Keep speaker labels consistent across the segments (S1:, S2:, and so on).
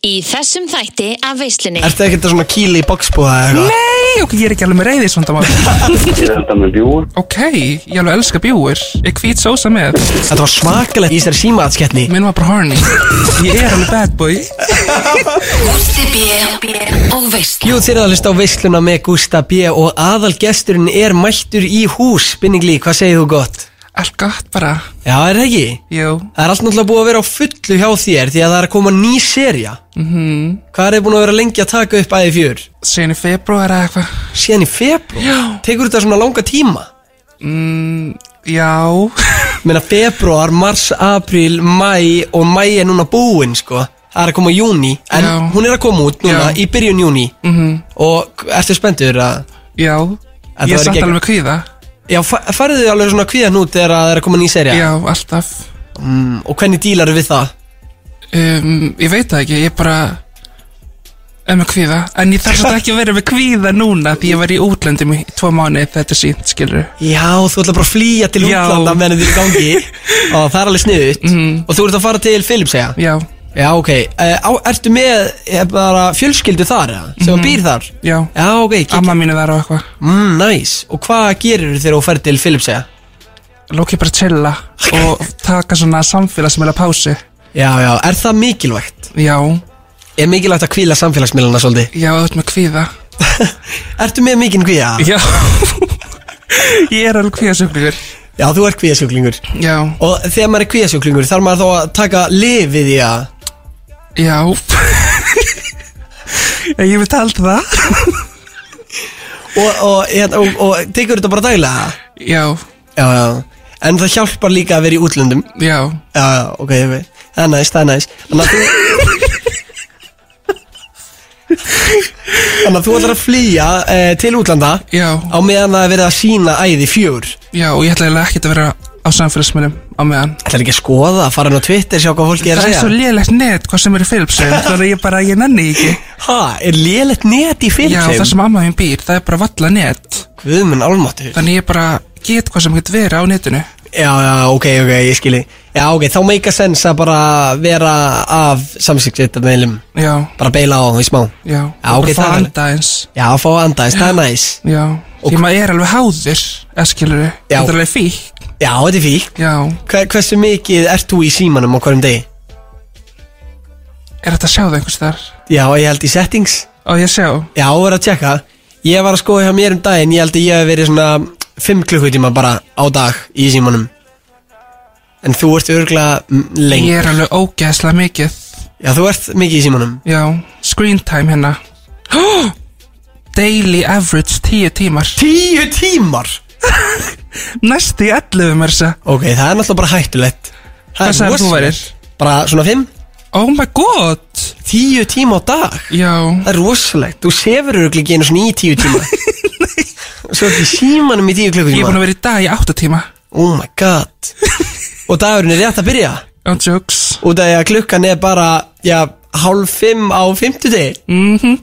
S1: Í þessum þætti af veislunni
S2: Ertu ekkert að svona kýli í boxbúða eða eitthvað?
S3: Nei, ok, ég er ekki alveg með reyðis
S4: Ég er þetta með bjúur.
S3: Ok, ég alveg elska bjúir Ég hvít sósa með
S2: Þetta var svakalegt í þessari símaðatskettni
S3: Minn var bara horny Ég er alveg bad boy
S5: Gústi B og Veisla
S2: Jú, þér er að hlusta á veisluna með Gústa B og aðalgesturinn er mættur í hús Binninglí, hvað segir þú gott?
S3: Allt gott bara
S2: Já, er það ekki?
S3: Jú,
S2: Það er allt náttúrulega búið að vera á fullu hjá þér því að það er að koma ný serja -hmm. Hvað er þið búin að vera lengi að taka upp æði fjör?
S3: sen mhm. í februar eða eitthvað
S2: Síðan í februar?
S3: Já.
S2: Tekur þetta svona langa tíma?
S3: mm, Já
S2: Meina februar, mars, apríl, mæ og mæ er núna búinn sko Það er að koma í júni En
S3: Já.
S2: hún er að koma út núna
S3: Já. Mhm.
S2: í byrjun júni -hmm. Og ertu spenntur að
S3: Já
S2: En það
S3: Ég er
S2: var
S3: samt
S2: ekki-
S3: alveg með kvíða
S2: Já, fa- farið þið alveg svona kvíðan út þegar að það er að koma ný serja
S3: Já, alltaf
S2: mm, Og hvernig dílaru við það?
S3: um, Ég veit það ekki, ég bara Er með kvíða En ég þarf svolítið ekki að vera með kvíða núna Því ég var í útlöndum í tvo mánu Þetta er sínt, skilur
S2: Já, þú ætla bara að flýja til
S3: Já.
S2: útlanda meðan þið er í gangi Og það er alveg sniðut mm. Og þú ert að fara til Filipsega
S3: Mhm. Já,
S2: Já, ok uh, á, Ertu með eh, bara fjölskyldu þar eða? Sem mm. býr þar?
S3: já
S2: Já, ok, kikki
S3: Mhm. Amma mín er þar og eitthvað
S2: mm, Nice Og hvað gerir þegar þú ferð til Filipsega?
S3: Lóki bara að chilla og taka svona samfélagsmiðla pási
S2: Já, já, er það mikilvægt?
S3: Já,
S2: Er mikilvægt að kvíla samfélagsmiðlana svolítið?
S3: já, þú ert með kvíða
S2: Ertu með mikinn kvíða?
S3: Já Ég er alveg kvíðasöfningur
S2: Já, þú ert kvíðasjúklingur
S3: Já,
S2: Og þegar maður er kvíðasjúklingur þarf maður þá að taka lifið í að
S3: já Já, Ég veit allt það
S2: og, og, hérna, og, og tekur þetta bara daglega
S3: Já,
S2: Já, já En það hjálpar líka að vera í útlöndum
S3: já
S2: Já, já, ok, ok Það er næst, það er næst Þannig að þú Þannig að þú ætlar að flýja eh, til útlanda
S3: Já,
S2: Á meðan það er verið að sína æði fjör
S3: já, og ég ætla eiginlega ekkert að vera á samfélagsmiðlum á meðan
S2: Það er ekki að skoða, fara inn á Twitter, sjá hvað fólki er að
S3: Það er
S2: segja
S3: svo lélegt net hvað sem er í Philipsum Þannig að ég bara, ég nenni því ekki
S2: Ha, er lélegt net í
S3: Já,
S2: Filipsheim?
S3: það sem amma mín býr, það er bara valla net
S2: Guðmund Álmáttur
S3: Þannig ég bara get hvað sem get verið á netinu
S2: Já, já, ok, ok, ég skilji Já, ok, þá meika sens að bara vera af samsíksvita meðlum
S3: Já,
S2: Bara beila á í smá
S3: Já, og
S2: ok,
S3: bara
S2: það
S3: fá
S2: er-
S3: anda eins
S2: Já, fá að anda, þess, það er næs
S3: Já,
S2: Og
S3: því maður er alveg háður Eskilur,
S2: Já.
S3: þetta er alveg fík
S2: Já, þetta er fík
S3: Já,
S2: Hver, Hversu mikið ert þú í símanum á hverjum degi?
S3: er þetta að sjá það einhvers þar?
S2: Já, ég held í settings
S3: Og ég sjá,
S2: Já, er að tjekka Ég var að skoða hjá mér um daginn Ég held að ég hef verið svona 5 klukkutíma bara á dag í símanum En þú ert örgulega lengi
S3: ég er alveg ógeðslega mikið
S2: Já, þú ert mikið í símanum
S3: Já, screen time hérna Hó! Daily average 10 tímar
S2: 10 tímar?
S3: Næstu í 11 mér þess að
S2: Ok, það er náttúrulega bara hættulegt Það
S3: Hvað
S2: er
S3: sagðir þú
S2: rosalegt. Bara svona 5?
S3: Oh my god
S2: 10 tíma á dag
S3: Já,
S2: Það er rosalegt, þú sefur örugglega ekki einu svona í 10 tíma Svo ekki símanum í 10
S3: ég er búin
S2: klukkutíma
S3: að vera í dag í 8 tíma
S2: Oh my god Og dagurinn er rétt að byrja
S3: On jokes
S2: Út af því að klukkan er bara Já, hálf 5 á 50 deg
S3: Mhm.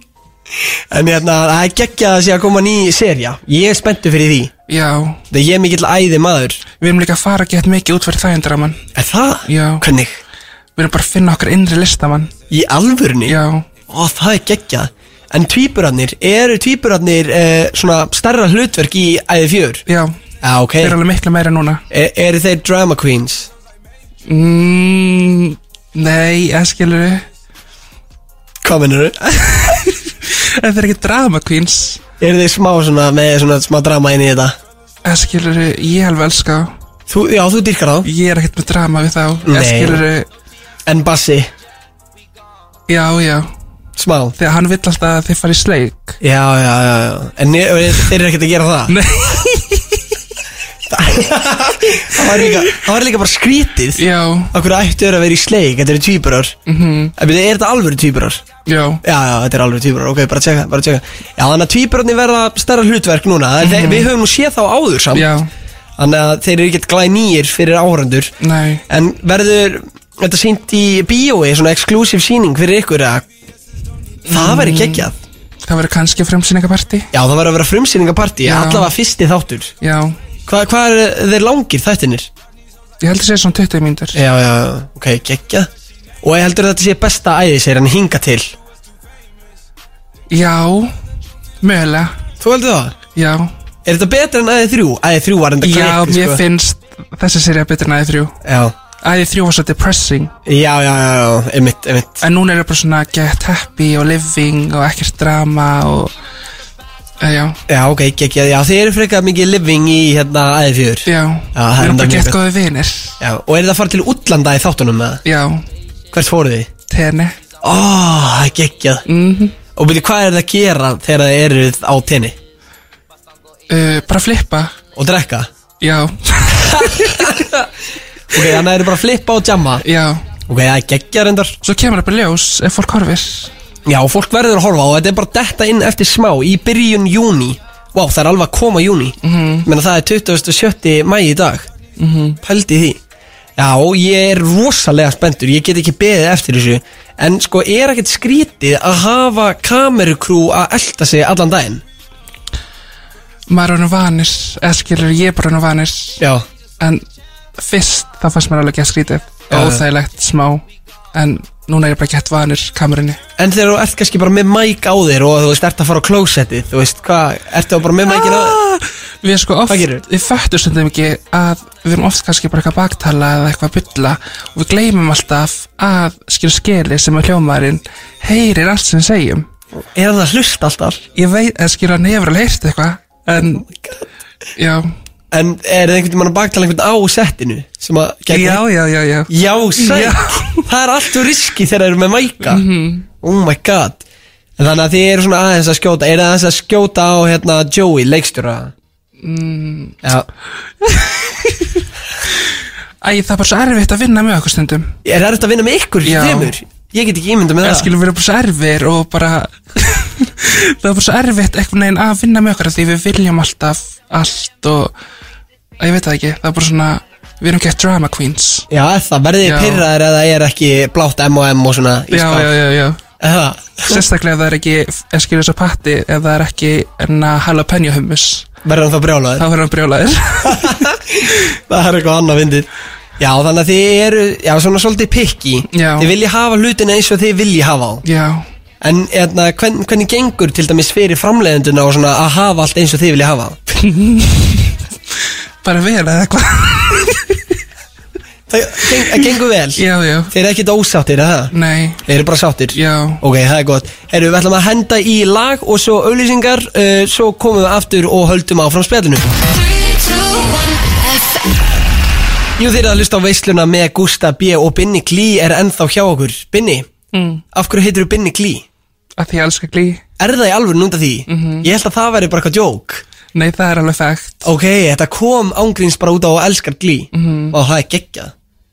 S2: En hérna, það er geggjað að sé að koma ný serja Ég er spenntu fyrir því
S3: Já,
S2: Það ég er mikill æði maður
S3: við erum líka að fara að geta mikið útverð þægindraman
S2: Er það?
S3: Já.
S2: Hvernig?
S3: Við erum bara að finna okkar innri listamann
S2: Í alvörni?
S3: Já,
S2: Ó, það er geggjað En tvíburarnir, eru tvíburarnir eh, svona starra hlutverk í æði fjör?
S3: já
S2: Já, ok
S3: Þeir eru alveg miklu meira núna
S2: Er, eru þeir drama queens?
S3: mm, Nei, eða skilur við
S2: Hvað minnur þau?
S3: En þeir eru ekki drama queens
S2: Eru þeir smá svona með svona smá drama inn í þetta?
S3: Eða skilur við, ég alveg elska þá.
S2: Þú, já, þú dyrkar þá
S3: Ég er ekkert með drama við þá Eða
S2: Nei.
S3: skilur við,
S2: En Bassi,
S3: já, já
S2: smá
S3: Þegar hann vill alltaf að þeir fara í sleik
S2: Já, já, já, já En ne- og þeir eru ekkert að gera það
S3: Nei,
S2: Það var líka, það var líka bara skrítið
S3: já,
S2: Akkur ættu eru að vera í sleik, þetta eru tvíburar mm -hmm. Er þetta alvöru tvíburar?
S3: já
S2: Já, já, þetta er alveg tvíburar, ok, bara tjekka, bara tjekka Já, þannig að tvíburarnir verða starra hlutverk núna mm -hmm. Við höfum nú séð þá áður samt
S3: Mhm. Já,
S2: Þannig að þeir eru ekkert glænýir fyrir áhrandur
S3: nei
S2: En verður þetta sýnt í bíói, svona exklusív sýning fyrir ykkur að Það
S3: Mm.
S2: væri geggjað
S3: Það verður kannski fremsýningaparti
S2: Já, það væri að vera frumsýningapartí,
S3: Já.
S2: allavega fyrsti þáttur
S3: Já,
S2: Hva- Hvað er þeir langir þættinir?
S3: Eh. ég held að segja svona 20 mínútur
S2: Já, já, ok, geggjað Og ég heldur að þetta sé besta æði sér en hinga til
S3: Já, mögulega
S2: Þú heldur það?
S3: Já,
S2: Er þetta betra en æði þrjú? Æði þrjú var enda
S3: já
S2: klikk,
S3: mér finnst þessi serið betur en æði þrjú
S2: Já,
S3: Æði þrjú var svo depressing
S2: já, já, já, já, einmitt, einmitt
S3: En núna er það bara svona get happy og living og ekkert drama og Eh, Já,
S2: Já, ok, ekki, ekki, já, þið eru frekar mikið living í hérna æði fjör
S3: já,
S2: það er
S3: við erum
S2: enda
S3: bara
S2: mjög
S3: gett
S2: gott.
S3: góði vinir
S2: Já, og er það að fara til útlanda í þáttunum með
S3: Já,
S2: Hvert fóruð þið?
S3: tenni
S2: Ó, það er geggjað
S3: Mhm.
S2: Og byrju, hvað er það að gera þegar þið eruð á tenni?
S3: uh, Bara flippa,
S2: Og drekka?
S3: já,
S2: Ok, þannig að það eru bara að flippa og jamma
S3: já
S2: Ok, það er geggjað reyndar
S3: Svo kemur upp í ljós ef fólk horfir
S2: Já, og fólk verður að horfa og þetta er bara detta inn eftir smá í byrjun júni Vá, það er alveg að koma júni -hmm. Menna það er 27. mæ í dag mm -hmm. Pældi því Já, ég er rosalega spenntur, ég get ekki beðið eftir þessu En sko, er ekkert skrítið að hafa kamerukrú að elta sig allan daginn?
S3: Maður er nú vanir, eða skilur ég er bara nú vanir
S2: Já,
S3: En fyrst þá fannst mér alveg gett skrítið
S2: Já, já.
S3: Óþægilegt smá En núna er ég bara gett vanir kamerunni
S2: en þegar þú ert kannski bara með mæk á þér og þú veist, ert að fara á klósettið Þú veist, hvað, ert þú bara með mækin á þér?
S3: Við erum sko oft,
S2: Hvað gerirðu?
S3: við föttum stundum ekki að Við erum oft kannski bara eitthvað baktala eða eitthvað að bulla Og við gleymum alltaf að skilur skeli sem að hljómaðurinn Heyrir allt sem við segjum
S2: Er hann að hlusta alltaf?
S3: Ég veit, eða skilur hann hefur alveg heyrt eitthvað En, já,
S2: En er það einhvern veginn að baktala einhvern á settinu? sem að gegn-
S3: já, já, já, já
S2: Já, sæk
S3: Já.
S2: Það er allt úr riski þegar þeir eru með mæka Oh my god En þannig að þið eru svona aðeins að skjóta Er það aðeins að skjóta á hérna Joey, leikstjóra mm. Já
S3: Æ, það er bara svo erfitt að vinna með okkur stundum
S2: Er það eftir að vinna með ykkur
S3: Já.
S2: þeimur? Ég get ekki ímynda með
S3: Það
S2: það
S3: skilur vera bara svo erfir og bara Það er bara svo erfitt einhvern veginn að vinna með okkur af Því við viljum alltaf allt og Æ, Ég veit það ekki, það er bara svona Við erum gett drama queens
S2: Já, er það verði
S3: Já.
S2: ég pyrraður eða það er ekki blátt M&M og svona í
S3: Já,
S2: skáp?
S3: já, já, já
S2: Er það?
S3: Sérstaklega ef það er ekki, en skilur þess að patti Ef það er ekki enna jalapeno hummus
S2: Verður hann þá brjálaður?
S3: Þá verður hann brjólaður
S2: það er eitthvað annað vindið Já, þannig að þið eru, já, svona svolítið pikki
S3: Já.
S2: Þið vilji hafa hlutina eins og þið vilji hafa á
S3: Já,
S2: En hérna, hvern, hvernig gengur til dæmis fyrir framleiðenduna og svona að hafa allt eins og þið vilja hafa?
S3: bara vel eða eitthvað
S2: Það geng, það gengur vel
S3: Já, já,
S2: Þeir eru ekkert ósáttir, eða það?
S3: nei,
S2: Þeir eru bara sáttir
S3: já
S2: Ok, það er gott Herru, við ætlum að henda í lag og svo auðlýsingar uh, Svo komum við aftur og höldum áfram spjallinu Jú, þeir eru að hlusta á veisluna með Gústa B og Binni Glí er ennþá hjá okkur Binni,
S3: mm.
S2: af hverju heitir þú Binni Glí?
S3: Að því ég elska glý
S2: Er það í alveg núnda því?
S3: Mhm.
S2: Ég held að það væri bara eitthvað djók
S3: Nei, það er alveg fægt
S2: Ok, þetta kom ángríns bara út á að elskar glí Og það er geggjað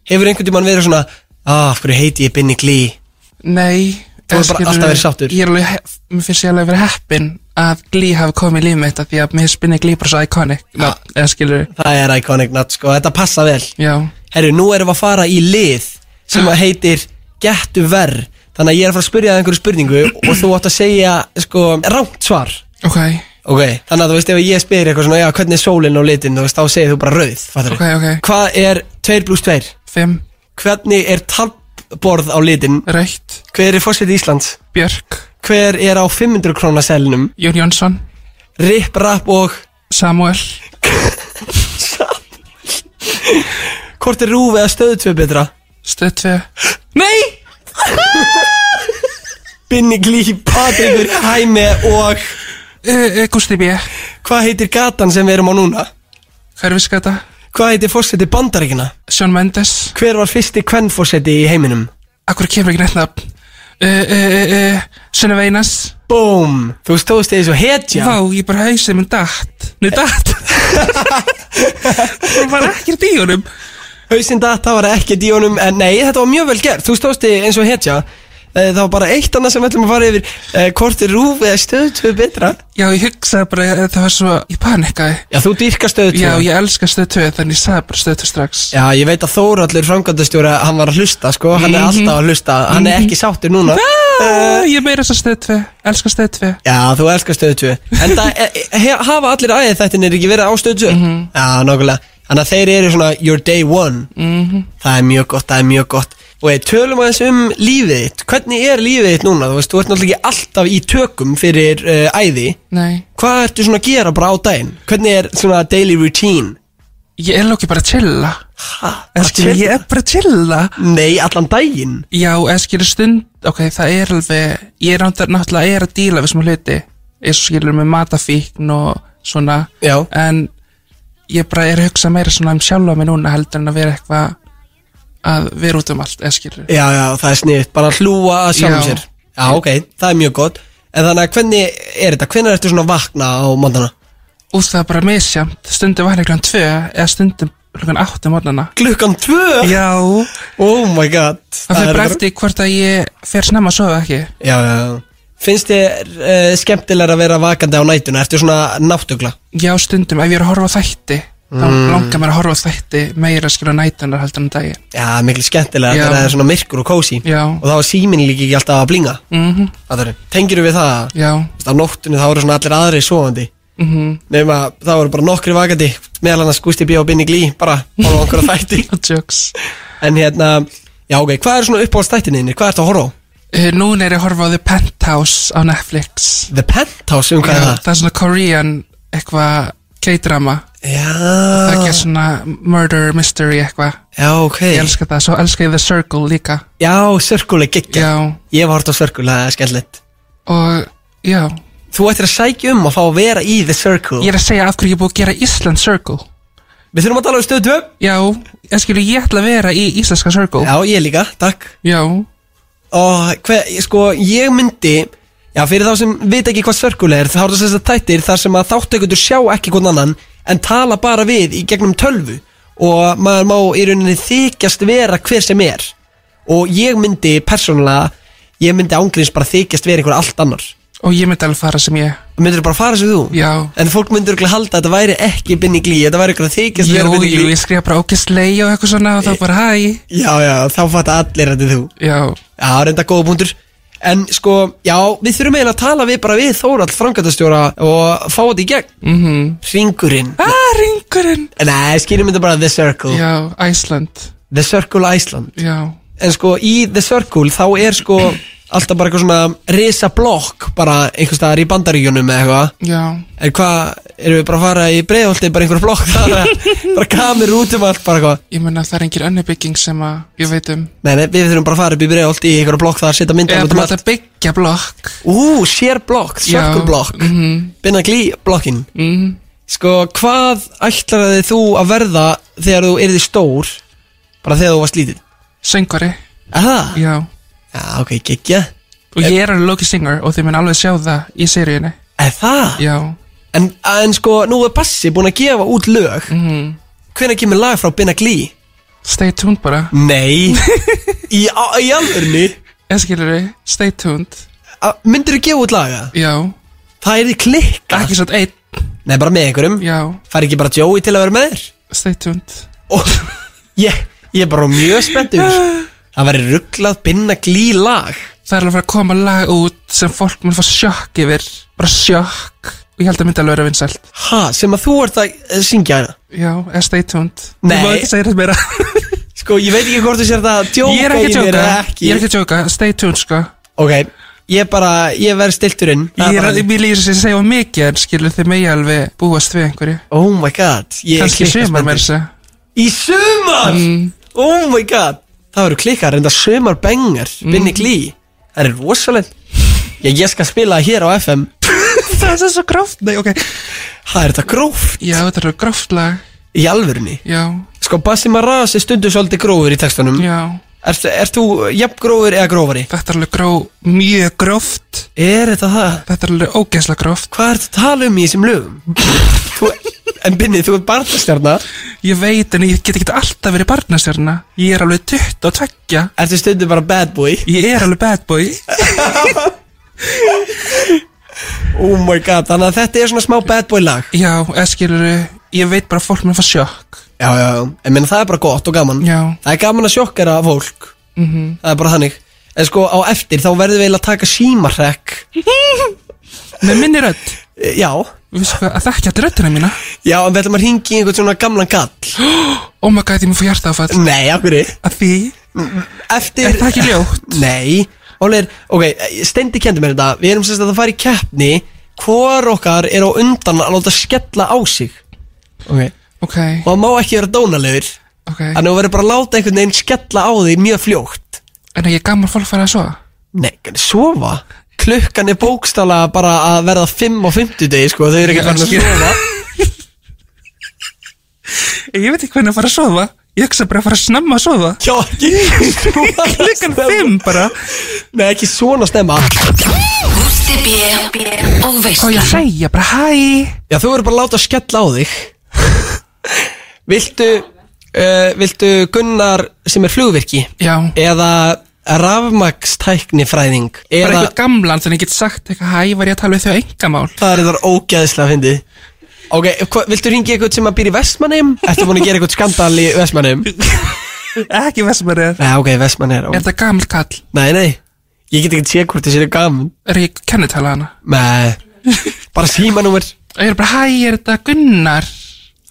S2: Hefur einhvern tímann verið svona Ah, af hverju heiti ég Binni glí?
S3: Nei
S2: Þú hefur bara
S3: skilurðu,
S2: alltaf verið sáttur.
S3: Ég er alveg, he- mér finnst ég alveg verið heppin að Glee hafi komið í líf mitt af því að mér spinni Glee bara svo iconic ja. eða skilur,
S2: Það er iconic nut, sko, þetta passa vel
S3: já
S2: Herru, nú erum við að fara í lið Sem að heitir Gettu verð Þannig að ég er að fara að spyrja það einhverju spurningu Og þú átt að segja, sko, rámt svar
S3: ok,
S2: Ok, þannig að þú veist ef ég spyr eitthvað svona Já, hvernig er sólinn og litin, þú veist, þá segir þú bara rauð fattarðu?
S3: ok, ok,
S2: Hvað er 2 pluss 2?
S3: fimm,
S2: Hvernig er talborð á litin?
S3: rautt
S2: Hver er fórsveit Íslands?
S3: Björk,
S2: Hver er á 500 krónaselnum?
S3: Jón Jónsson
S2: Rip, rap og
S3: Samuel,
S2: Hvort er rúf eða stöðutvö betra?
S3: stöð 2
S2: Nei! Binni Glí, Patrikur, Hæmi og
S3: uh, uh, Gusti B,
S2: Hvað heitir gatan sem við erum á núna?
S3: Hverfiskata
S2: Hvað heitir fórseti bandaríkina?
S3: Sjón Mendes,
S2: Hver var fyrsti kvennfórseti í heiminum?
S3: akkur kemur ekki neitt nafn uh, uh, uh, uh, Sunna Veinas
S2: Búm! Þú stóðst þig svo hetja
S3: Vá, ég bara hausið minn datt Nei, datt Það var ekkert í honum
S2: Hausinn datt, það var ekki díunum En nei, þetta var mjög vel gert Þú stóðst þig eins og hetja Eh, Það var bara eitt annað sem við ætlum að fara yfir Eh, Hvort er rúf eða stöðutvö betra?
S3: Já, ég hugsaði bara að það var svo, ég panikkaði.
S2: Já, þú dýrkar stöðutvö
S3: Já, ég elska stöð 2, þannig ég sagði bara stöð 2 strax.
S2: Já, ég veit að Þóraldur framkvæmdastjóra, hann var að hlusta, sko, hann er
S3: Mhm.
S2: alltaf að hlusta, hann er ekki sáttur núna. Eh,
S3: Ah, ég meira þess að stöð 2, elska stöð 2.
S2: Já, þú elskar stöðu 2. En það e- e- he- hafa allir æðið þættinir ekki verið á stöðu 2? Já, nokkulega. Þannig að þeir eru svona your day one. Það er mjög gott, það er mjög gott. Og ég, tölum aðeins um lífið þitt Hvernig er lífið þitt núna? Þú veist, þú ert náttúrulega ekki alltaf í tökum fyrir uh, æði
S3: Nei,
S2: Hvað ertu svona að gera bara á daginn? Hvernig er svona daily routine?
S3: ég er lókið bara að chilla
S2: Ha, bara
S3: Elskir,
S2: chill?
S3: Ég er bara að chilla
S2: Nei, allan daginn
S3: Já, eða skilur stund Ok, það er alveg Ég er náttúrulega- náttúrulega er að díla við smá hluti Ég skilur með matafíkn og svona
S2: Já.
S3: En ég bara er að hugsa meira svona um sjálfa mig núna heldur en að vera eitthvað að vera út um allt, eða skilur
S2: Já, já, það er sniðt, bara hlúa að sjálfum
S3: Já.
S2: sér Já, ok, það er mjög gott En þannig að hvernig er þetta? Hvernig ertu svona að vakna á mondana?
S3: Úr það er bara misjamt, stundum var klukkan tvö eða stundum klukkan átta um mótnana
S2: Klukkan tvö?
S3: Já
S2: Oh my god
S3: Það fyrir bara
S2: er-
S3: eftir hvort að ég fer snemma að sofa ekki
S2: Já, já, já Finnst þér uh, skemmtilega að vera vakandi á nætuna? Ertu svona náttugla?
S3: Já, stundum, ef ég er að horfa á þætti þá langar mér að horfa á þætti meira skilur á nætunar heldur en á daginn
S2: Já, miklu skemmtilega
S3: Já.
S2: þegar það er svona myrkur og kósi
S3: Já.
S2: Og þá er síminn líka ekki alltaf að blinga
S3: mm
S2: Það er, tengir við það?
S3: Já,
S2: Á nóttunni þá eru svona allir aðri sofandi
S3: mm
S2: Nefnum að það eru bara nokkri vakandi Meðal annars Gusti B. og Binni Glí Bara, bara okkur að þætti
S3: jokes
S2: En hérna, já ok, hvað er svona uppáhaldstættinni? Hvað ertu að horfa á?
S3: uh, Núna er ég að horfa á The Penthouse á Netflix
S2: The Penthouse, um hvað
S3: Já,
S2: er það?
S3: Það er svona Korean eitthvað K-drama
S2: Já, Ah.
S3: Það er ekki svona murder mystery eitthvað
S2: já ok
S3: Ég elska það, svo elska ég The Circle líka
S2: Já, sörkuleg geggja
S3: Já,
S2: Ég var hort á sörkuleg, það er skemmtilegt
S3: og já
S2: Þú ættir að sækja um að fá að vera í The Circle
S3: Ég er að segja af hverju ég er búið að gera Ísland Circle
S2: Við þurfum að tala um stöð 2
S3: Já, ég skilur ég ætla að vera í Íslandska Circle
S2: Já, ég líka, takk
S3: Já,
S2: Og hver, sko, ég myndi Já, fyrir þá sem vita ekki hvað sörkuleg er Þá er það sérst að tættir þar sem að þáttekundur sjá ekki hvern annan En tala bara við í gegnum tölvu Og maður má í rauninni þykjast vera hver sem er Og ég myndi persónulega Ég myndi ángriðins bara þykjast vera einhver allt annar
S3: og ég myndi alveg fara sem ég
S2: Myndir bara fara sem þú?
S3: Já.
S2: En fólk myndir okkur halda að þetta væri ekki binni glí Þetta væri okkur að þykjast
S3: Jú,
S2: vera binni
S3: jú,
S2: glí
S3: ég skrifa bara ógistlei og eitthvað svona og þá bara hæ
S2: Já, já, þá fatta allir að þetta er þú
S3: Já,
S2: Já, reynda góða punktur En sko, já, við þurfum eiginlega að tala við bara við Þórald, framkvæmtastjóra og fá þetta í gegn mm -hmm. Ringurinn
S3: Mhm. ah, ringurinn
S2: Nei, skýrum þetta bara The Circle
S3: Já, Æsland
S2: The Circle Iceland
S3: Já,
S2: En sko, í The Circle þá er sko alltaf bara eitthvað svona risa blokk bara einhvers staðar í bandaríkjunum eða eitthvað
S3: já,
S2: En hvað, erum við bara að fara í breiðholti bara einhver blokk þar eða bara kamir út um allt bara eitthvað
S3: ég meina það er engin önnur bygging sem að ég veit um
S2: Nei, nei, við þurfum bara að fara upp í breiðholti í einhverja blokk þar, setja myndar
S3: Eða
S2: út um
S3: bara
S2: allt
S3: að byggja blokk
S2: Ú, sér blokk, circle
S3: Já, Mhm.
S2: blokk mm -hmm. Binna glí blokkin
S3: mm,
S2: Sko, hvað ætlaði þú að verða þegar þú yrði stór bara þegar þú varst lítill?
S3: Söngvari,
S2: Er það?
S3: já
S2: Já, ok, gekkja
S3: Og ég er alveg Loki Singer og þið mun alveg sjá það í seríunni
S2: Er það?
S3: Já,
S2: En, en sko, nú er Bassi búin að gefa út lög mm -hmm. Hvenær kemur lag frá Binna glí?
S3: Mhm. stay tuned bara
S2: Nei Í, á- í alvörni
S3: Eða skilur við, stay tuned
S2: Myndir þú gefa út laga?
S3: Já,
S2: Það er því klikka
S3: ekki satt einn
S2: Nei, bara með einhverjum
S3: Já,
S2: Fær ekki bara Joey til að vera með þér?
S3: stay tuned
S2: og ég, ég er bara mjög spenntur það væri rugglað binna glí lag
S3: Það er alveg að fara að koma lag út sem fólk mun fá sjokk yfir Bara sjokk Og ég held að myndi alveg að vera vinsælt
S2: ha, sem að þú ert að eh, syngja hana
S3: Já, eða stay tuned
S2: Nei.
S3: Þú má ekki segja þetta meira
S2: sko, ég veit ekki hvort þú sér það að djóka
S3: Ég er
S2: í
S3: ekki að
S2: mér
S3: tjóka
S2: eða
S3: Ég er ekki að tjóka, stay tuned sko
S2: ok, ég bara, ég verð stiltur inn Það
S3: Ég er
S2: bara-
S3: að, mér líður sem ég segja of mikið En skilur þið megi alveg búast við einhverju
S2: oh my god, ég er
S3: Kanski
S2: klikkað
S3: sumar
S2: spenntur.
S3: Mm. með þessu
S2: í sumar, oh my god það eru klikkar, enda sumar bengar
S3: Mm.
S2: binni glí, það er rosalegt ég, ég skal spila það hér á FM
S3: Það er svo gróft Nei, ok
S2: það er þetta gróft
S3: Já, þetta er alveg gróft lag
S2: í alvörunni
S3: Já,
S2: sko, Bassi Maras er stundu svolítið grófur í textunum
S3: já
S2: Ert, ert þú jafn grófur eða grófari?
S3: Þetta er alveg gró, mjög gróft
S2: Er þetta það?
S3: Þetta er alveg ógeðslega gróft
S2: Hvað ertu að tala um í þessum lögum? þú, en Binni, þú ert barnastjarnar
S3: Ég veit en ég get ekki alltaf verið barnastjörna Ég er alveg 22
S2: Ertu stundu bara bad boy
S3: Ég er alveg bad boy
S2: Oh my god, þannig að þetta er svona smá bad boy lag
S3: Já, eða skilur Ég veit bara að fólk mér fá sjokk
S2: Já, já, já, en minna það er bara gott og gaman
S3: Já.
S2: Það er gaman að sjokkera fólk -hmm. Það er bara þannig En sko á eftir þá verðum við eiginlega að taka símarrekk
S3: Með minni rödd
S2: Já,
S3: Vissu hvað, sko, að þekkja allir röddina mína
S2: já, en við ætlum að ringi einhvern svona gamlan gall
S3: Oh my god, ég mér fá hjarta áfall
S2: Nei, af hverju?
S3: Að því
S2: Eftir
S3: Er það ekki ljótt?
S2: Nei Ólega, ok, Steindi kendi mér þetta Við erum sérst að það fara í keppni Hvor okkar er á undan að láta skella á sig Ok
S3: Ok,
S2: Og það má ekki vera dónalegur
S3: ok
S2: Þannig að þú verður bara að láta einhvern veginn skella á þig mjög fljótt
S3: En ekki gaman fólk fara að sofa?
S2: Nei, kannu sofa Klukkan er bókstala bara að verða 5 á 50 degi sko Þau eru ekki farin að sofa
S3: Ég veit ekki hvernig að fara að sofa Ég hugsa bara að fara að snemma að sofa
S2: Já, ekki svona
S3: Klukkan
S2: snemma.
S3: fimm bara
S2: Nei, ekki svona stemma
S5: Gústi B og
S3: Og ég
S5: veislan
S3: að hlæja bara hæ
S2: Já, þú verður bara að láta skella á þig Viltu uh, Viltu Gunnar sem er flugvirki
S3: Já,
S2: Eða rafmakstæknifræðing
S3: bara
S2: Eða
S3: eitthvað gamlan þannig ég get sagt eitthvað hæ var ég að tala við þau engamál
S2: það er þar ógæðislega fyndið Ok, hva, viltu ringi eitthvað sem að býr í Vestmanneim? Ertu búin að gera eitthvað skandal í Vestmanneim?
S3: Ekki vestmærið
S2: Nei, ok, Vestmanneim
S3: Er
S2: ok.
S3: þetta gaml kall?
S2: Nei, nei, ég get ekki séð hvort þessi er gaman
S3: Er ég kennitala hana?
S2: Nei, bara símanúmer
S3: Og ég er bara hæ, er þetta Gunnar?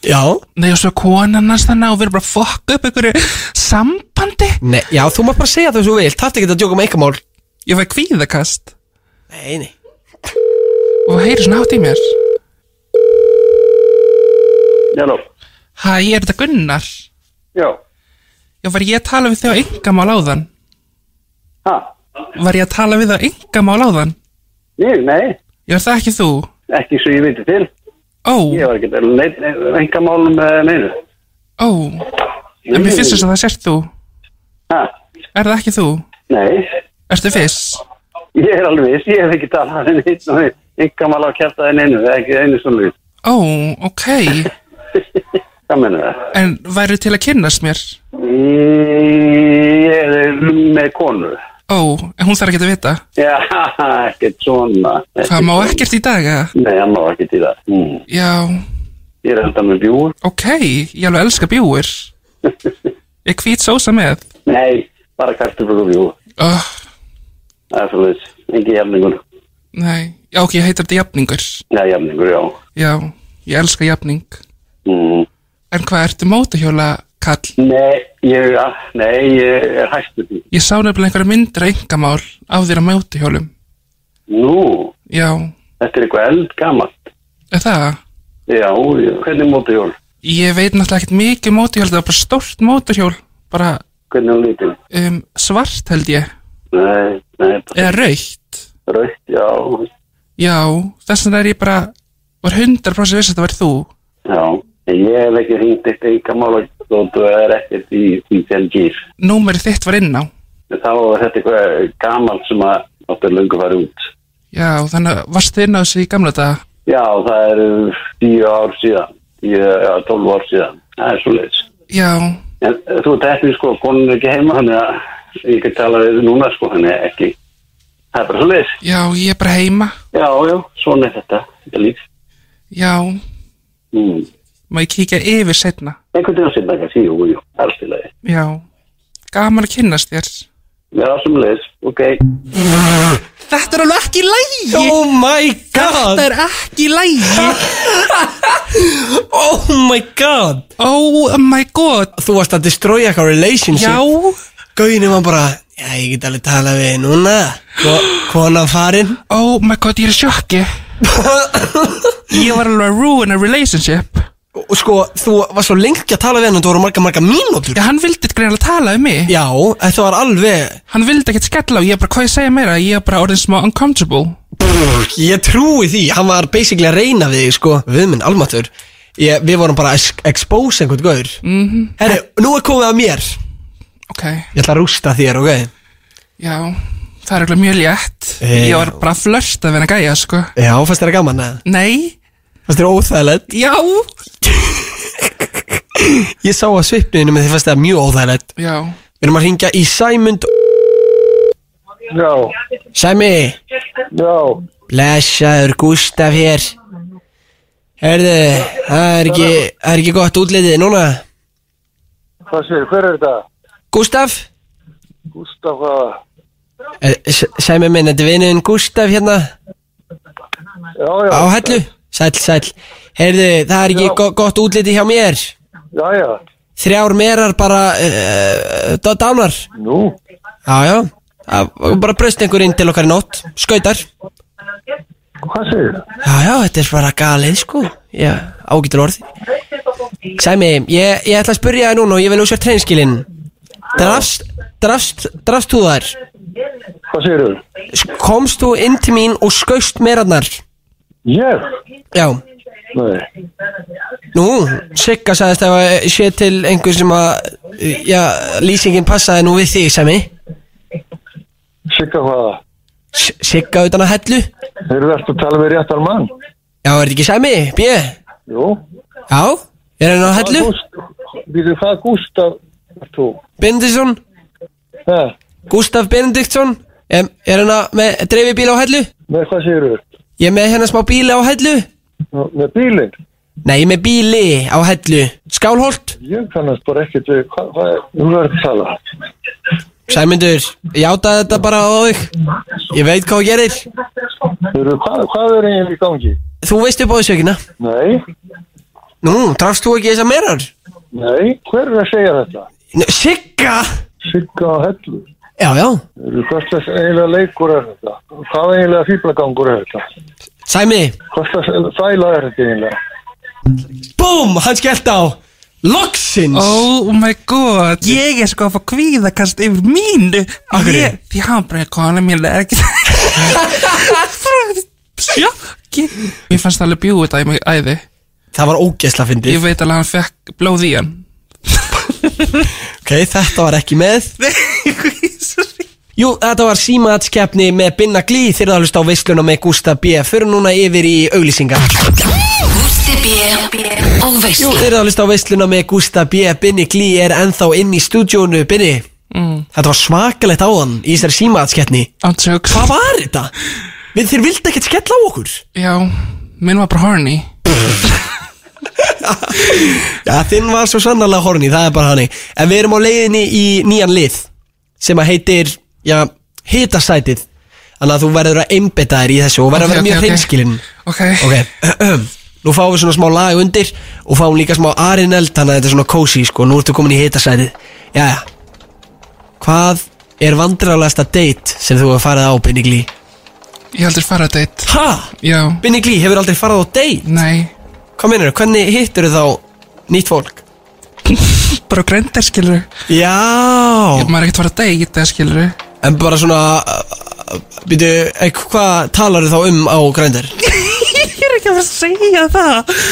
S2: Já
S3: Nei, og svo konan hans þannig og við erum bara að fokka upp einhverju sambandi
S2: Nei, já, þú mátt bara segja það svo vilt, þarftu ekki að djóka um einkamál
S3: Ég fæ kvíðakast
S2: Nei, nei
S3: og heyri svona hátt í mér
S4: Halló,
S3: Hæ, er þetta Gunnar?
S4: já,
S3: Já, var ég að tala við þau á engamál áðan?
S4: ha,
S3: Var ég að tala við þau á engamál áðan?
S4: ég, nei,
S3: Já, er það ekki þú?
S4: ekki svo ég viti til,
S3: Ó,
S4: ég var ekki að neitt, enga málum með eh, neinu,
S3: ó En mér finnst þess að það sért þú
S4: ha,
S3: Er það ekki þú?
S4: nei,
S3: Ertu fyrst?
S4: ég er alveg viss, ég hef ekki talað við neitt og enga mál á kjartaði neinu, það er ekki einu svona við,
S3: Ó, ok
S4: hvað mennum það?
S3: En væru til að kynnast mér?
S4: Ég er með konu,
S3: Ó, en hún þarf ekki að vita
S4: já, ekkert svona,
S3: Það má ekkert í dag, eða?
S4: nei, hann má ekki til það, mm.
S3: Já,
S4: ég er alltaf með bjúr,
S3: Ok, ég alveg elska bjúir Ég hvít sósa með
S4: nei, bara kartuflur og bjúr,
S3: oh,
S4: það er svolítið, engi jafningur,
S3: Nei, já ok, ég heitir þetta jafningur
S4: já, jafningur, já,
S3: Já, ég elska jafning
S4: mm.
S3: En hvað ertu mótahjóla, kall?
S4: Nei, ég, ja, nei, ég er hættur því.
S3: Ég sá nefnilega einhverja myndir að engamál á þér á mótahjólum
S4: Nú,
S3: Já,
S4: þetta er eitthvað eldgamalt.
S3: er það?
S4: Já, já, hvernig móti jól?
S3: Ég veit náttúrulega ekkert mikið um mótahjól Það var bara stórt mótahjól Bara
S4: Hvernig hún lítil?
S3: um, svart held ég
S4: Nei, nei, bara
S3: Eða raukt
S4: raukt, já,
S3: Já, þess vegna er ég bara Var 100% viss að þetta væri þú
S4: já. En Ég hef ekki hringt eitt einkamál og þú er ekkert í, í félgir.
S3: Númerið þitt var inn á
S4: Þá er þetta eitthvað gamalt sem að átti að lungu fara út.
S3: Já, þannig að varst þið inn á þessu í gamla daga?
S4: Já, það eru tíu ár síðan, tíu, já, tólf ár síðan. Það er svo leiðis.
S3: Já,
S4: En þú ert eftir sko, konun er ekki heima, þannig að ég kan tala við þig núna sko, þannig að ekki. Það er bara svo leiðis.
S3: já, ég er bara heima.
S4: Já, já, svona er þetta, þetta líf.
S3: Já,
S4: Mm.
S3: má ég kíkja yfir setna?
S4: Einhvern veginn sem það kannski, jú, jú, allstilagi.
S3: Já, gaman að kynnast þér.
S4: Já, sem leiðis, ok.
S3: Þetta er alveg ekki lægi!
S2: Oh my god
S3: Þetta er ekki lægi!
S2: Oh my god
S3: Oh my god!
S2: Þú varst að destroya eitthvað relationship
S3: Já,
S2: Gauðinu var bara Já, ég get alveg talað við þig núna Ko- Konan farin
S3: oh my god, ég er í sjokki. Ég var alveg að ruin a relationship.
S2: Og sko, þú var svo lengi að tala við hann Þú voru marga, marga mínútur
S3: Já, hann vildi greinlega tala um mig.
S2: Já, þetta var alveg
S3: Hann vildi ekkert skella og ég bara, hvað ég segja meira? Ég er bara orðin smá uncomfortable.
S2: Ég trúi því, hann var basically að reyna við þig, sko, við minn almatur ég, Við vorum bara að ex- expose einhvern gaur mm -hmm. Herri, nú er komið að mér
S3: Ok,
S2: Ég ætla að rústa þér, ok?
S3: já, það er alveg mjög létt.
S2: Eh,
S3: Ég var bara að flörta við hann að gæja, sko.
S2: Já, fannst þér að gaman að
S3: Nei,
S2: Fannst þér óþægilegt
S3: já
S2: Ég sá að svipninu með því fannst þér mjög óþægilegt
S3: Já,
S2: Við erum að ringja í Sæmund
S4: Já,
S2: Sæmi,
S4: já,
S2: blessaður Gustaf hér Herðu, það er ekki, það er ekki gott útlitið núna
S4: hvað séu, hver er þetta?
S2: Gustaf?
S4: Gustaf, hvað?
S2: Eh, S- Sæmi minn, þetta er vinnuðin Gustaf hérna
S4: Já, já,
S2: Á hellu, sæll, sæll Heyrðu, það er ekki go gott útliti hjá mér
S4: já, já,
S2: Þrjár merar bara uh, Dánar
S4: Nú,
S2: Já, já Það var Bara braust einhver inn til okkar í nótt Skautar Já,
S4: hvað segir það?
S2: já, þetta er bara galið sko Já, ágættur orð Sæmi, ég, ég ætla að spyrja það núna og ég vil úsja treinskilin Drafst, drafst, drafst þú þær?
S4: Hvað segir þau?
S2: Sk- Komst þú inn til mín og skaust merarnar?
S4: Ég?
S2: Já
S4: Nei,
S2: Nú, Sigga sagðist að sé til einhver sem að, eh, já, lýsingin passaði nú við þig, Sæmi
S4: sigga hvaða.
S2: S- Sigga utan að hellu
S4: Þeir eru eftir að tala við réttar mann.
S2: Já, er þetta ekki Sæmi, B?
S4: Jú.
S2: Já, er hann á hellu?
S4: Býðu hvað Gústaf ert þú?
S2: Benediktsson,
S4: Hæ?
S2: Gustaf Benediktsson Em, Er hann að, með, dreifi bíla á hellu?
S4: Með hvað segir þau?
S2: Ég er með hérna smá bíla á hellu
S4: Með bílinn?
S2: Nei, ég er með bíli á hellu Skálholt,
S4: Ég kannast bara ekkert við hvað, hvað er, nú er þetta að tala.
S2: Sæmundur, játaði þetta bara á þig Ég veit hvað þú gerir
S4: Þeir eru hvað, hvað er eiginlega í gangi?
S2: Þú veist upp á þessu ekki, na?
S4: Nei,
S2: Nú, drafst þú ekki þessar merar?
S4: nei, hver er að segja þetta?
S2: N- Sigga?
S4: Sigga og hellu.
S2: Já, já
S4: Þeir eru hvað slags eiginlega leikur er þetta? Hvað eiginlega fýblagangur er þetta?
S2: Sæmi,
S4: Hvað slags þæla er þetta eiginlega?
S2: búm, hann skellt á Loksins
S3: Oh my god Ég er sko að fá kvíðakast yfir mínu
S2: Af hverju?
S3: Ég- Því hann bara kona mín er ekki Sjokki Mér fannst það alveg bjúið þetta í mig æði
S2: Það var ógeðsla fyndið
S3: Ég veit alveg að hann fekk blóð í hann
S2: Ok, þetta var ekki með Jú, þetta var símaðskefni með Binna Glý þegar það hlust á veisluna með Gústa B. Fyrir núna yfir í auglýsingar
S5: Gústi B og
S2: Jú,
S5: veislan
S2: þegar það hlust á veisluna með Gústa B. Binni Glý er ennþá inn í stúdjónu Binni,
S3: Mm.
S2: þetta var svakalegt áðan í þessari símaðskefni
S3: Ántjóks
S2: Hvað var þetta? Við þér vildi ekkert skella á okkur
S3: Já, minn var bara horny
S2: Já, þinn var svo sannarlega horni, það er bara hannig En við erum á leiðinni í nýjan lið Sem að heitir, já, hitasætið Þannig að þú verður að einbeta þér í þessu Og verður að vera mjög hreinskilinn
S3: Ok,
S2: Ok, nú fáum við svona smá lag undir Og fáum líka smá arineld Þannig að þetta er svona cozy, sko, nú ertu komin í hitasætið Jæja Hvað er vandrarlegasta date Sem þú hefur farið á, Binni Glí?
S3: ég heldur fara að deitt
S2: Ha?
S3: Já,
S2: Binni Glí hefur aldrei farið á date
S3: nei
S2: Hvað meinarðu, hvernig hittur þá nýtt fólk?
S3: Bara grændir skilur
S2: Já
S3: Maður er ekkert fara að deyta skilur
S2: En bara svona uh, Býtu, eh, hvað talar þá um á grændir?
S3: Ég er ekki að fara að segja það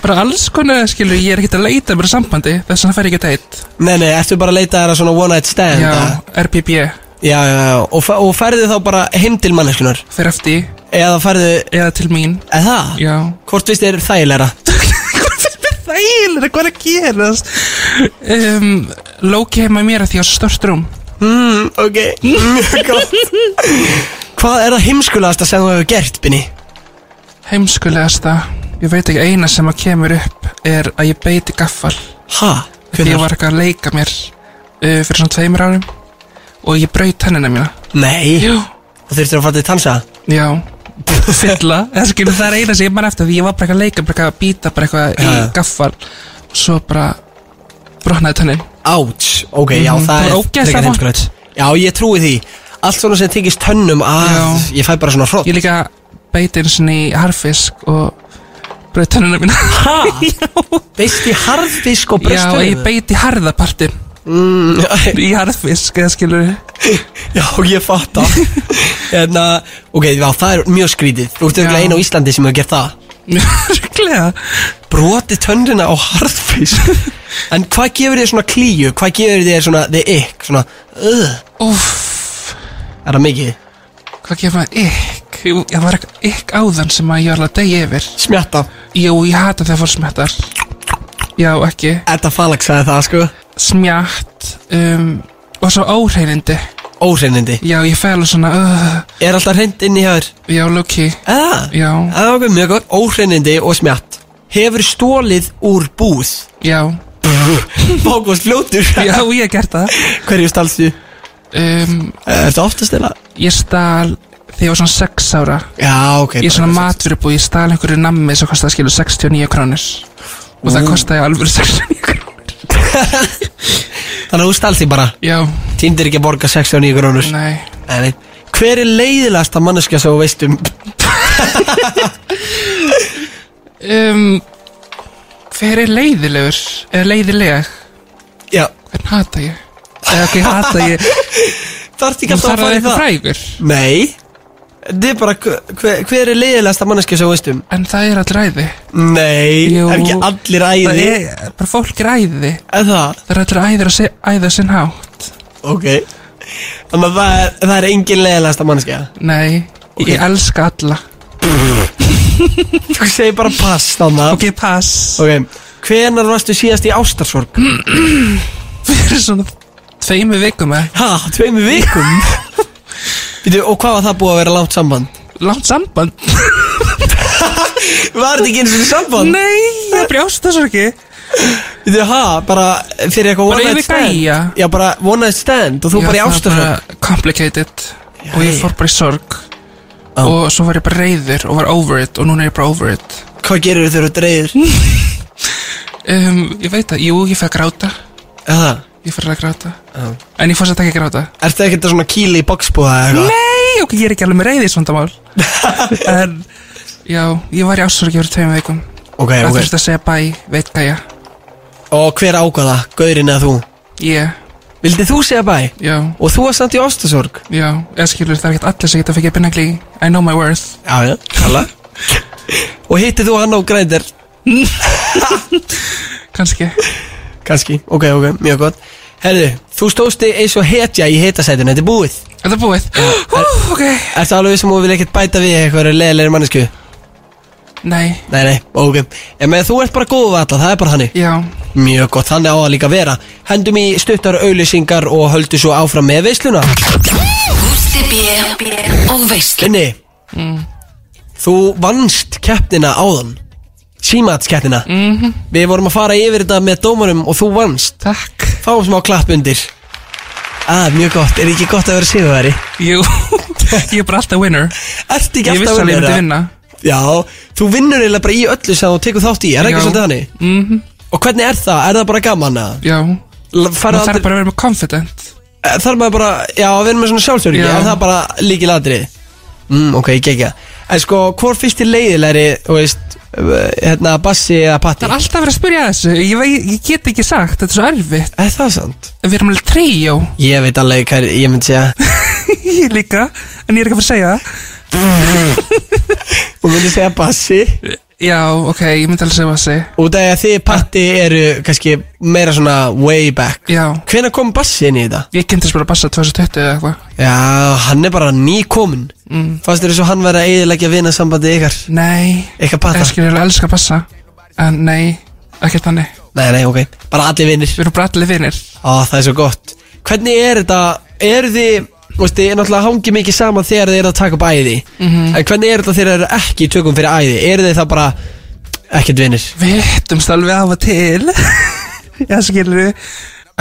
S3: Bara alls konar skilur Ég er ekkert að leita mér að sambandi Þess vegna fær ég ekki deitt
S2: Nei, nei, ertu bara að leita þér að svona one night stand
S3: Já,
S2: að-
S3: RPB
S2: já, já, já. Og, fa- og færðu þá bara heim til manneskunar
S3: Fyrir eftir
S2: Eða færðu,
S3: Eða til mín
S2: eða það?
S3: Já
S2: Hvort vist er þægilegra?
S3: Þægilega, hvað er að gerast um, Lóki heima í mér að því á stort rúm
S2: Mm, ok, mjög gott Hvað er það heimskulegasta sem þú hefur gert, Binni?
S3: Heimskulegasta Ég veit ekki eina sem að kemur upp Er að ég beiti gaffal
S2: Ha?
S3: Því ég
S2: Hvenær?
S3: var eitthvað að leika mér uh, Fyrir svona tveimur árum Og ég braut tennina mína
S2: Nei, þú þurftir að fara til tansa
S3: Já Fylla En skilur það er eina sem ég man eftir Því ég var bara eitthvað að leika Bara eitthvað að býta Bara eitthvað í
S2: Já.
S3: gaffal Og svo bara Brotnaði tennin
S2: Áts, ok, já,
S3: Mhm,
S2: það
S3: það
S2: er
S3: var ógeðslega
S2: frekar
S3: vont.
S2: heimskulegt. Já, ég trúi því Allt svona sem tengist tönnum að
S3: Já.
S2: Ég fæ bara svona hrott
S3: Ég líka beiti eins og ný harfisk Og braut tennina mína
S2: Ha? Beist í harðfisk og
S3: Já
S2: brjóstur?
S3: og ég beiti harðapartin
S2: mm,
S3: Í harfisk Eða skilur
S2: Já, ég fatta En að, ok, já, það er mjög skrítið Þú ert auðvitað
S3: Já.
S2: einu á Íslandi sem hefur gert það
S3: Ruglega
S2: Broti tönnina á harðfisk En hvað gefur þér svona klíu? Hvað gefur þér svona the ick? Svona, uh,
S3: Úff
S2: er það mikið?
S3: Hvað gefur maður ykk? Jú, Það var eitthvað ykk áðan sem að ég var alveg að degja yfir
S2: Smjatta
S3: Jú, ég hata þegar fólk smettar Já, ekki
S2: Edda Falag sagði það, sko
S3: Smjatt um, Og svo óhreinindi
S2: Óhreinindi
S3: Já, ég fæ alveg svona uh,
S2: Er alltaf hreint inn í hér?
S3: Já, Loki
S2: Eða?
S3: Já,
S2: Eða, ok, mjög gott Óhreinindi og smjatt Hefur stólið úr búð
S3: já
S2: Bákvast fljótur
S3: Já, ég hef gert það
S2: Hverju stalstu?
S3: um,
S2: Er þetta oftast eða?
S3: Ég stal þegar ég var svona 6 ára
S2: Já, ok
S3: Ég er svona matvörubúi, ég stal einhverju nammi sem kostaði skilu 69 krónur Og það kostaði alveg 69 krónur
S2: Þannig að þú stalst því bara
S3: Já,
S2: Týndir ekki að borga 69 krónur
S3: nei
S2: Nei. Hver er leiðilegasta manneskja sem þú veist um
S3: um, Hver er leiðilegur? Er leiðileg?
S2: Já,
S3: Hvern hata ég? Eða hvað hata ég?
S2: þarf ekki
S3: Nú
S2: alltaf að
S3: þarf það
S2: fara í
S3: eitthvað
S2: það
S3: frægur
S2: Nei Þetta er bara, hver, hver er leiðilegasta manneskja sem þú veist um
S3: En það er allir æði
S2: Nei,
S3: Jú.
S2: er ekki allir
S3: Það
S2: æði
S3: er bara fólk er æði
S2: Er það?
S3: Það er allir æðir að se, æða sinn hátt
S2: Ok Þannig að það er, það er engin leiðilegasta manneskja
S3: Nei, ég elska alla
S2: Þú segir bara pass þannig
S3: Ok, pass
S2: ok Hvenar varstu síðast í ástarsorg?
S3: Fyrir svona tveimu vikum eh? eða
S2: Ha, tveimu vikum? Býtu, og hvað var það búið að vera langt samband?
S3: Langt samband
S2: Var þetta ekki eins og samband?
S3: Nei, ég brjóst þessu ekki
S2: Býtu, ha, bara fyrir eitthvað one
S3: Bara
S2: night
S3: yfir
S2: stand
S3: gæja.
S2: Já, bara one night stand og þú
S3: Já,
S2: bara í
S3: það var
S2: ástarsorg
S3: bara Complicated Og ég
S2: Jæja.
S3: fór bara í sorg
S2: Já.
S3: Og svo var ég bara reyður og var over it Og núna er ég bara over it
S2: Hvað gerir þau þegar þú dreigir?
S3: um, Ég veit að, jú, ég fæ að gráta
S2: Eða,
S3: Ég fæ að gráta En ég fór satt ekki að gráta
S2: ertu ekkert að svona kýli í boxbúða eða eitthvað?
S3: Nei, ok, ég er ekki alveg með reyði svona mál En, já, ég var í ássorgi fyrir tveim vikum
S2: Ok,
S3: Það
S2: ok
S3: þurfti að segja bæ, veit gæja
S2: Og hver ákvaða? Gaurinn eða þú?
S3: Ég,
S2: Vildið þú segja bæ?
S3: já,
S2: Og þú var samt í ástarsorg?
S3: já Eða skilur, það er ekkert allir sem geta fengið að finna glí I know my worth
S2: Já, já, kalla Og hittið þú hann á grændir?
S3: kannski
S2: Kanski, ok, ok, mjög gott Herðu, þú stóðst þig eins og hetja í hitasætun, þetta er búið
S3: Er það búið? Hú, ok
S2: Ertu alveg vissum að þú vil ekkert bæta við eitthvað leðilegri mannesku?
S3: Nei,
S2: Nei, nei, ok En með þú ert bara góð við alla, það er bara þannig
S3: já,
S2: Mjög gott, þannig á að líka vera Hendum í stuttar auðlýsingar og höldu svo áfram með veisluna
S5: Gústi B og veislan
S2: Linni
S3: Mm.
S2: Þú vannst keppnina áðan Símatskeppnina
S3: Mm. mhm,
S2: -hmm. Við vorum að fara yfir þetta með dómarum og þú vannst
S3: takk
S2: Fáum smá klapp undir Ah, mjög gott, er ekki gott að vera sigurveri?
S3: Jú, ég er bara alltaf winner
S2: Ertu ekki
S3: Ég vissi
S2: alltaf
S3: alveg að ég myndi
S2: það?
S3: vinna
S2: Já, þú vinnur eiginlega bara í öllu sem þú tekur þátt í, er það ekki
S3: Já.
S2: svolítið þannig?
S3: mm
S2: Og hvernig er það? Er það bara gaman að?
S3: Já,
S2: Þar
S3: maður þarf bara að vera með confident
S2: Þar Eh, maður bara, já, að vera með svona sjálfsöryggi,
S3: Já.
S2: er það bara líki ladrið? Mm, ok, ég gekk að En sko, hvor fyrst er leiðilegri, þú veist, uh, hérna, Bassi eða
S3: Það
S2: Patti?
S3: er alltaf verið að spyrja að þessu ég, vei, ég get ekki sagt, þetta er svo erfitt
S2: Er það sant?
S3: En Við erum alveg tríó
S2: Ég veit alveg hvað ég myndi segja
S3: Ég líka, en ég er ekki að fara að segja það.
S2: Þú myndi segja Bassi
S3: Já, ok, ég myndi alveg segja þessi
S2: Út af því að þið Patti eru kannski meira svona way back
S3: Já,
S2: Hvenær kom Bassi inn í þetta?
S3: ég kynntist bara að bassa 2020 eða eitthvað
S2: Já, hann er bara nýkominn mm. Fannst þér eins og hann verið að eiginleggja vinasambandi ykkar
S3: Nei,
S2: Ykkar pata
S3: ég skilur alveg að elska að bassa En nei, ekkert þannig
S2: Nei, nei, ok Bara allir vinnir
S3: Við erum bara allir vinir
S2: Á, það er svo gott Hvernig er þetta, eru þið Þú veist, þið náttúrulega hangi mikið saman þegar þið eru að taka upp æði
S3: Mhm.
S2: En hvernig er þetta þegar þið eru ekki í tökum fyrir æði Eru þið það bara ekkert vinnir
S3: Við hittumst alveg af og til Já, skilur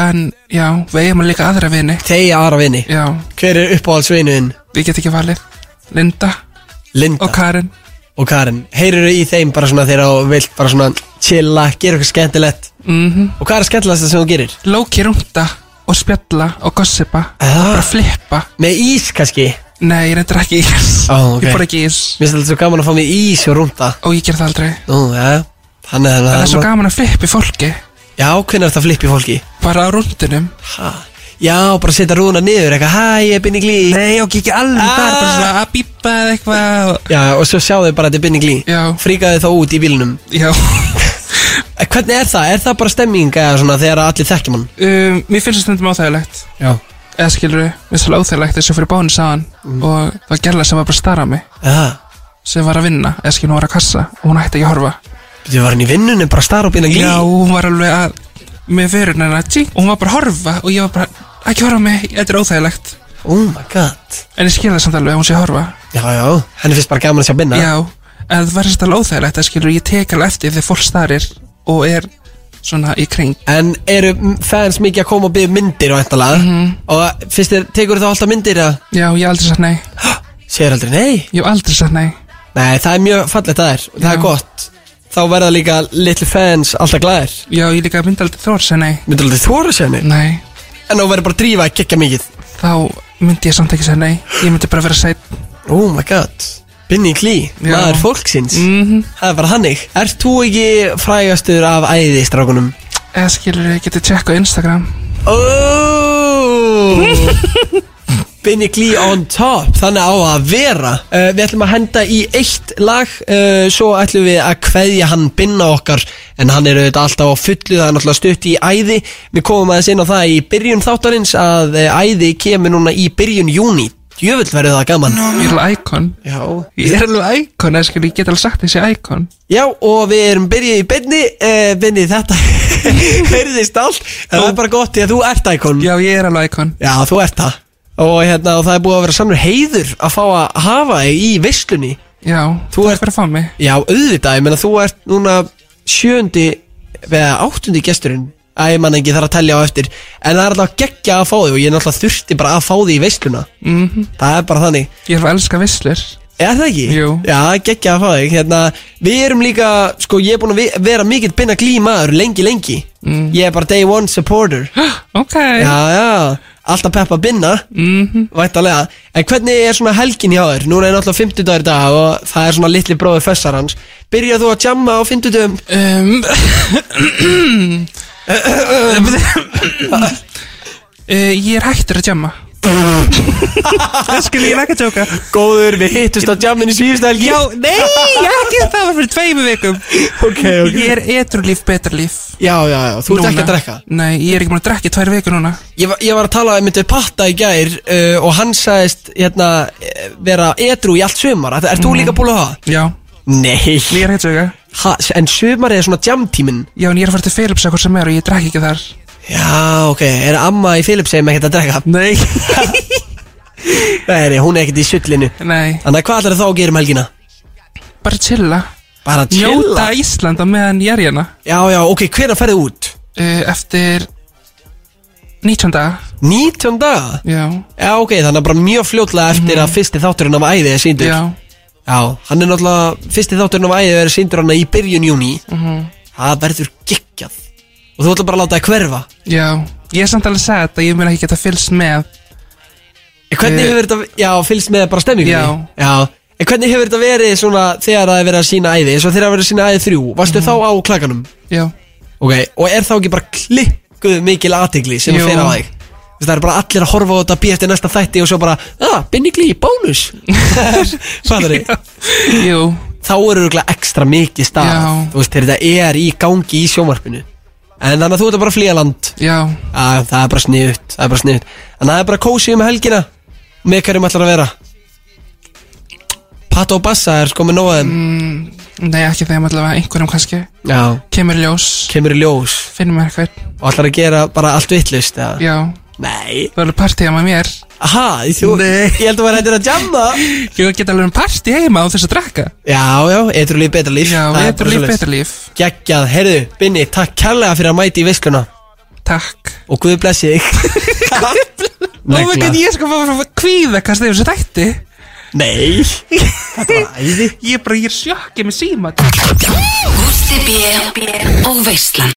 S3: En já, við eigum líka aðra vini
S2: Þegar aðra vinni
S3: Já,
S2: Hver er uppáhaldsvinuðin?
S3: við get ekki valið Linda
S2: Linda
S3: og Karin
S2: og Karen Heyrir í þeim bara svona þegar þú vilt bara svona chilla, gera eitthvað skemmtilegt
S3: mm
S2: Og hvað er skemmtilegast sem þú gerir?
S3: Lóki rúnta og spjalla og gossipa
S2: Ah.
S3: og bara flippa
S2: Með ís kannski
S3: Nei, ég reyndir ekki ís
S2: Ó, ok.
S3: Ég fór ekki ís
S2: Mér finnst þetta svo gaman að fá mig ís og rúnda
S3: og ég ger það aldrei
S2: Nú, já, þannig að
S3: Það er svo gaman að flippa í fólki
S2: Já, hvernig er þetta að flippa í fólki?
S3: bara á rúndinum
S2: Ha? Já, bara setja rúna niður eitthvað Hæ, ég er Binni Glí
S3: Nei, og ekki alveg
S2: það
S3: Það
S2: er bara
S3: er bara
S2: svona
S3: svona Ah, að bípa eða eitthvað
S2: Já, og svo sjáðu bara að þetta er Binni Glí
S3: Já.
S2: Fríkaðu þá út í bílnum
S3: Já
S2: Eh, Hvernig er það? Er það bara stemming eða svona þegar allir þekkjum hann?
S3: um, Mér finnst það stundum áþægilegt
S2: Já
S3: eða skilur við, mér finnst það óþægilegt þess að fyrir bónus á hann og það var gerla sem var bara að stara á mig
S2: Já,
S3: sem var að vinna, eða skilur hún var að kassa og hún hætti ekki að horfa
S2: þú var hann í vinnunum bara að stara á Binni Glí
S3: Já, og hún var alveg að með vörun hennar, tjink, og hún var bara að horfa og ég var bara, ekki horfa á mig, þetta er óþægilegt
S2: Oh my god
S3: en ég skil það samt alveg að hún sé að horfa
S2: Já, já, henni finnst bara gaman að sjá Binna
S3: Já, en það var samt alveg óþægilegt eða skilur, ég tek alveg eftir þegar fólk starir og er svona í kring
S2: En eru mm, fans mikið að koma og byggja myndir og eitthvað mm.
S3: Mhm.
S2: Og finnst þér, tekur þú alltaf myndir að
S3: Já, ég hef aldrei sagt nei,
S2: Sér aldrei, nei
S3: ég hef aldrei sagt nei
S2: Nei, það er mjög fallegt að það er og Það er
S3: Já.
S2: gott þá verða líka little fans alltaf glæðir
S3: Já, ég líka myndi aldrei þóra segja nei
S2: Myndur aldrei þóra að segja nei
S3: Nei,
S2: En þú verður bara að drífa að gekka mikið
S3: þá myndi ég samt ekki segja nei Ég myndi bara vera sætt
S2: Oh my god Binni Klí,
S3: Já.
S2: maður fólksins
S3: Mhm.
S2: Það er bara hannig Ert þú ekki frægastur af æðistrákunum?
S3: Eða skilur ég geti tjekka á Instagram
S2: Oh Binni Klí on top Þannig á að vera uh, Við ætlum að henda í eitt lag uh, Svo ætlum við að kveðja hann binna okkar En hann er auðvitað alltaf á fullu Það er náttúrulega stutt í æði Við komum aðeins inn á það í byrjun þáttarins Að uh, æði kemur núna í byrjun júni Jöfull verður það gaman
S3: Ég er alveg íkon
S2: Já
S3: Ég er alveg íkon, eða skilur ég get alveg sagt þessi íkon
S2: Já, og við erum byrjuð í byrni uh, Byrni þetta Heyrðist allt En það er bara gott því að þú ert íkon
S3: Já, ég er alveg íkon
S2: Já, þú ert það og, hérna, og það er búið að vera samur heiður Að fá að hafa þig í veislunni
S3: Já,
S2: Þú
S3: þú
S2: ert-
S3: ert fyrir að fá mig
S2: Já, auðvitað, ég meina þú ert núna Sjöndi Eða áttundi gesturinn Æ, ég man ekki þarf að telja á eftir En það er alltaf geggja að fá þig Og ég er náttúrulega þurfti bara að fá þig í veisluna
S3: Mhm.
S2: Það er bara þannig
S3: Ég er alveg að elska visslur
S2: Er það ekki?
S3: Jú.
S2: Já, geggja að fá þig hérna, Við erum líka, sko ég er búin að ve- vera mikill Binna glímaður lengi lengi mm. Ég er bara day one supporter
S3: Ok
S2: Já, já, alltaf peppa binna
S3: Mhm.
S2: Vættalega En hvernig er svona helgin hjá þér? Núna er náttúrulega 50 dagur dag og það er svona litli bróður fessar hans Byrjar þú að jamma á 50 dagum?
S3: Um, uh, ég er hættur að jamma Það skil ég er ekki að tjóka
S2: Góður, við hittust á jammin í síðustu helgi
S3: Já, nei, ekki það var fyrir tveimu vikum
S2: ok, ok
S3: Ég er etru líf, betra líf
S2: Já, já, já, þú ert
S3: Núna.
S2: ekki að drekka
S3: Nei, ég er ekki búin að drekka í tvær vikur núna
S2: Ég, var- ég var að tala um þetta patta í gær uh, og hann sagðist hérna, eh, vera edru í allt sumar Er, er þú líka búin að hafa?
S3: Já,
S2: Mhm. Nei
S3: ég er ekki að tjóka
S2: ha, En sumarið er svona jamtíminn
S3: Já, en ég er að fara til Philips eitthvað sem er og ég drekki ekki þar
S2: Já, ok, er amma í Philips sem ekkert að drekka?
S3: Nei
S2: Nei, nei, hún er ekkert í sullinu
S3: Nei,
S2: Þannig að hvað ætlar þá að gera um helgina?
S3: bara chilla
S2: Bara að
S3: Njóta Ísland á meðan ég er hérna
S2: Já, já, ok, hvenær ferðu út?
S3: uh, Eftir 19 daga
S2: 19 daga?
S3: Já,
S2: Já, ok, þannig að bara mjög fljótlega eftir að fyrsti þátturinn af æði er síndur
S3: já,
S2: Mhm. já, hann er náttúrulega, fyrsti þátturinn af æði er síndur hann í byrjun júni
S3: mhm.
S2: Það verður geggjað Og þú ætlar bara að láta það hverfa
S3: já Ég er samt alveg sett að ég mun ekki geta fylgst með
S2: En Hvernig
S3: Eh,
S2: hefur þetta, já, fylgst með bara stemmingunni?
S3: Já.
S2: En hvernig hefur þetta verið svona þegar það er verið að sína æði, eins og þegar það er verið að sína æði þrjú, varstu
S3: Mhm.
S2: þá á klakanum?
S3: Já,
S2: Ok, og er þá ekki bara klikkuð mikil aðtigli sem
S3: Jú.
S2: fer á þig? Þú veist, Það er bara allir að horfa á þetta, býja eftir næsta þætti og svo bara, ah, binnigli, bónus Fattar þig?
S3: jú,
S2: Þá eru örugglega ekstra mikið stað
S3: Já.
S2: Þú veist, þegar þetta er í gangi í sjónvarpinu En þannig að þú ert að bara flýja land
S3: já
S2: að, Það er bara sniðut, það er bara sniðut Þannig að það er bara kósið um helgina Með hverjum allar að vera Pato og Bassa er sko með nóðum mm.
S3: Nei, ekki þeim allavega, einhverjum kannski
S2: Já,
S3: Kemur í ljós,
S2: kemur í ljós
S3: finnum mér eitthvað
S2: Og allar að gera bara allt vittlust eða?
S3: Já,
S2: Nei
S3: það er alveg partí heima hjá mér
S2: Aha, þú, ég held að vera hættir að jamma
S3: Ég geta alveg um partí heima á þess að drekka
S2: Já, já, eitthvað líf betra líf
S3: Já, betur líf, betur líf
S2: Gægjað, herðu, Binni, takk kærlega fyrir að mæti í veisluna
S3: Takk
S2: Og Guð blessi þig
S3: Ó, veit ekki, ég sko bara að kvíða hvað þeir þessu þætti
S2: Nei Þetta var æði
S3: Ég bara, ég er sjokkið með síma
S5: Gústi B og Veislan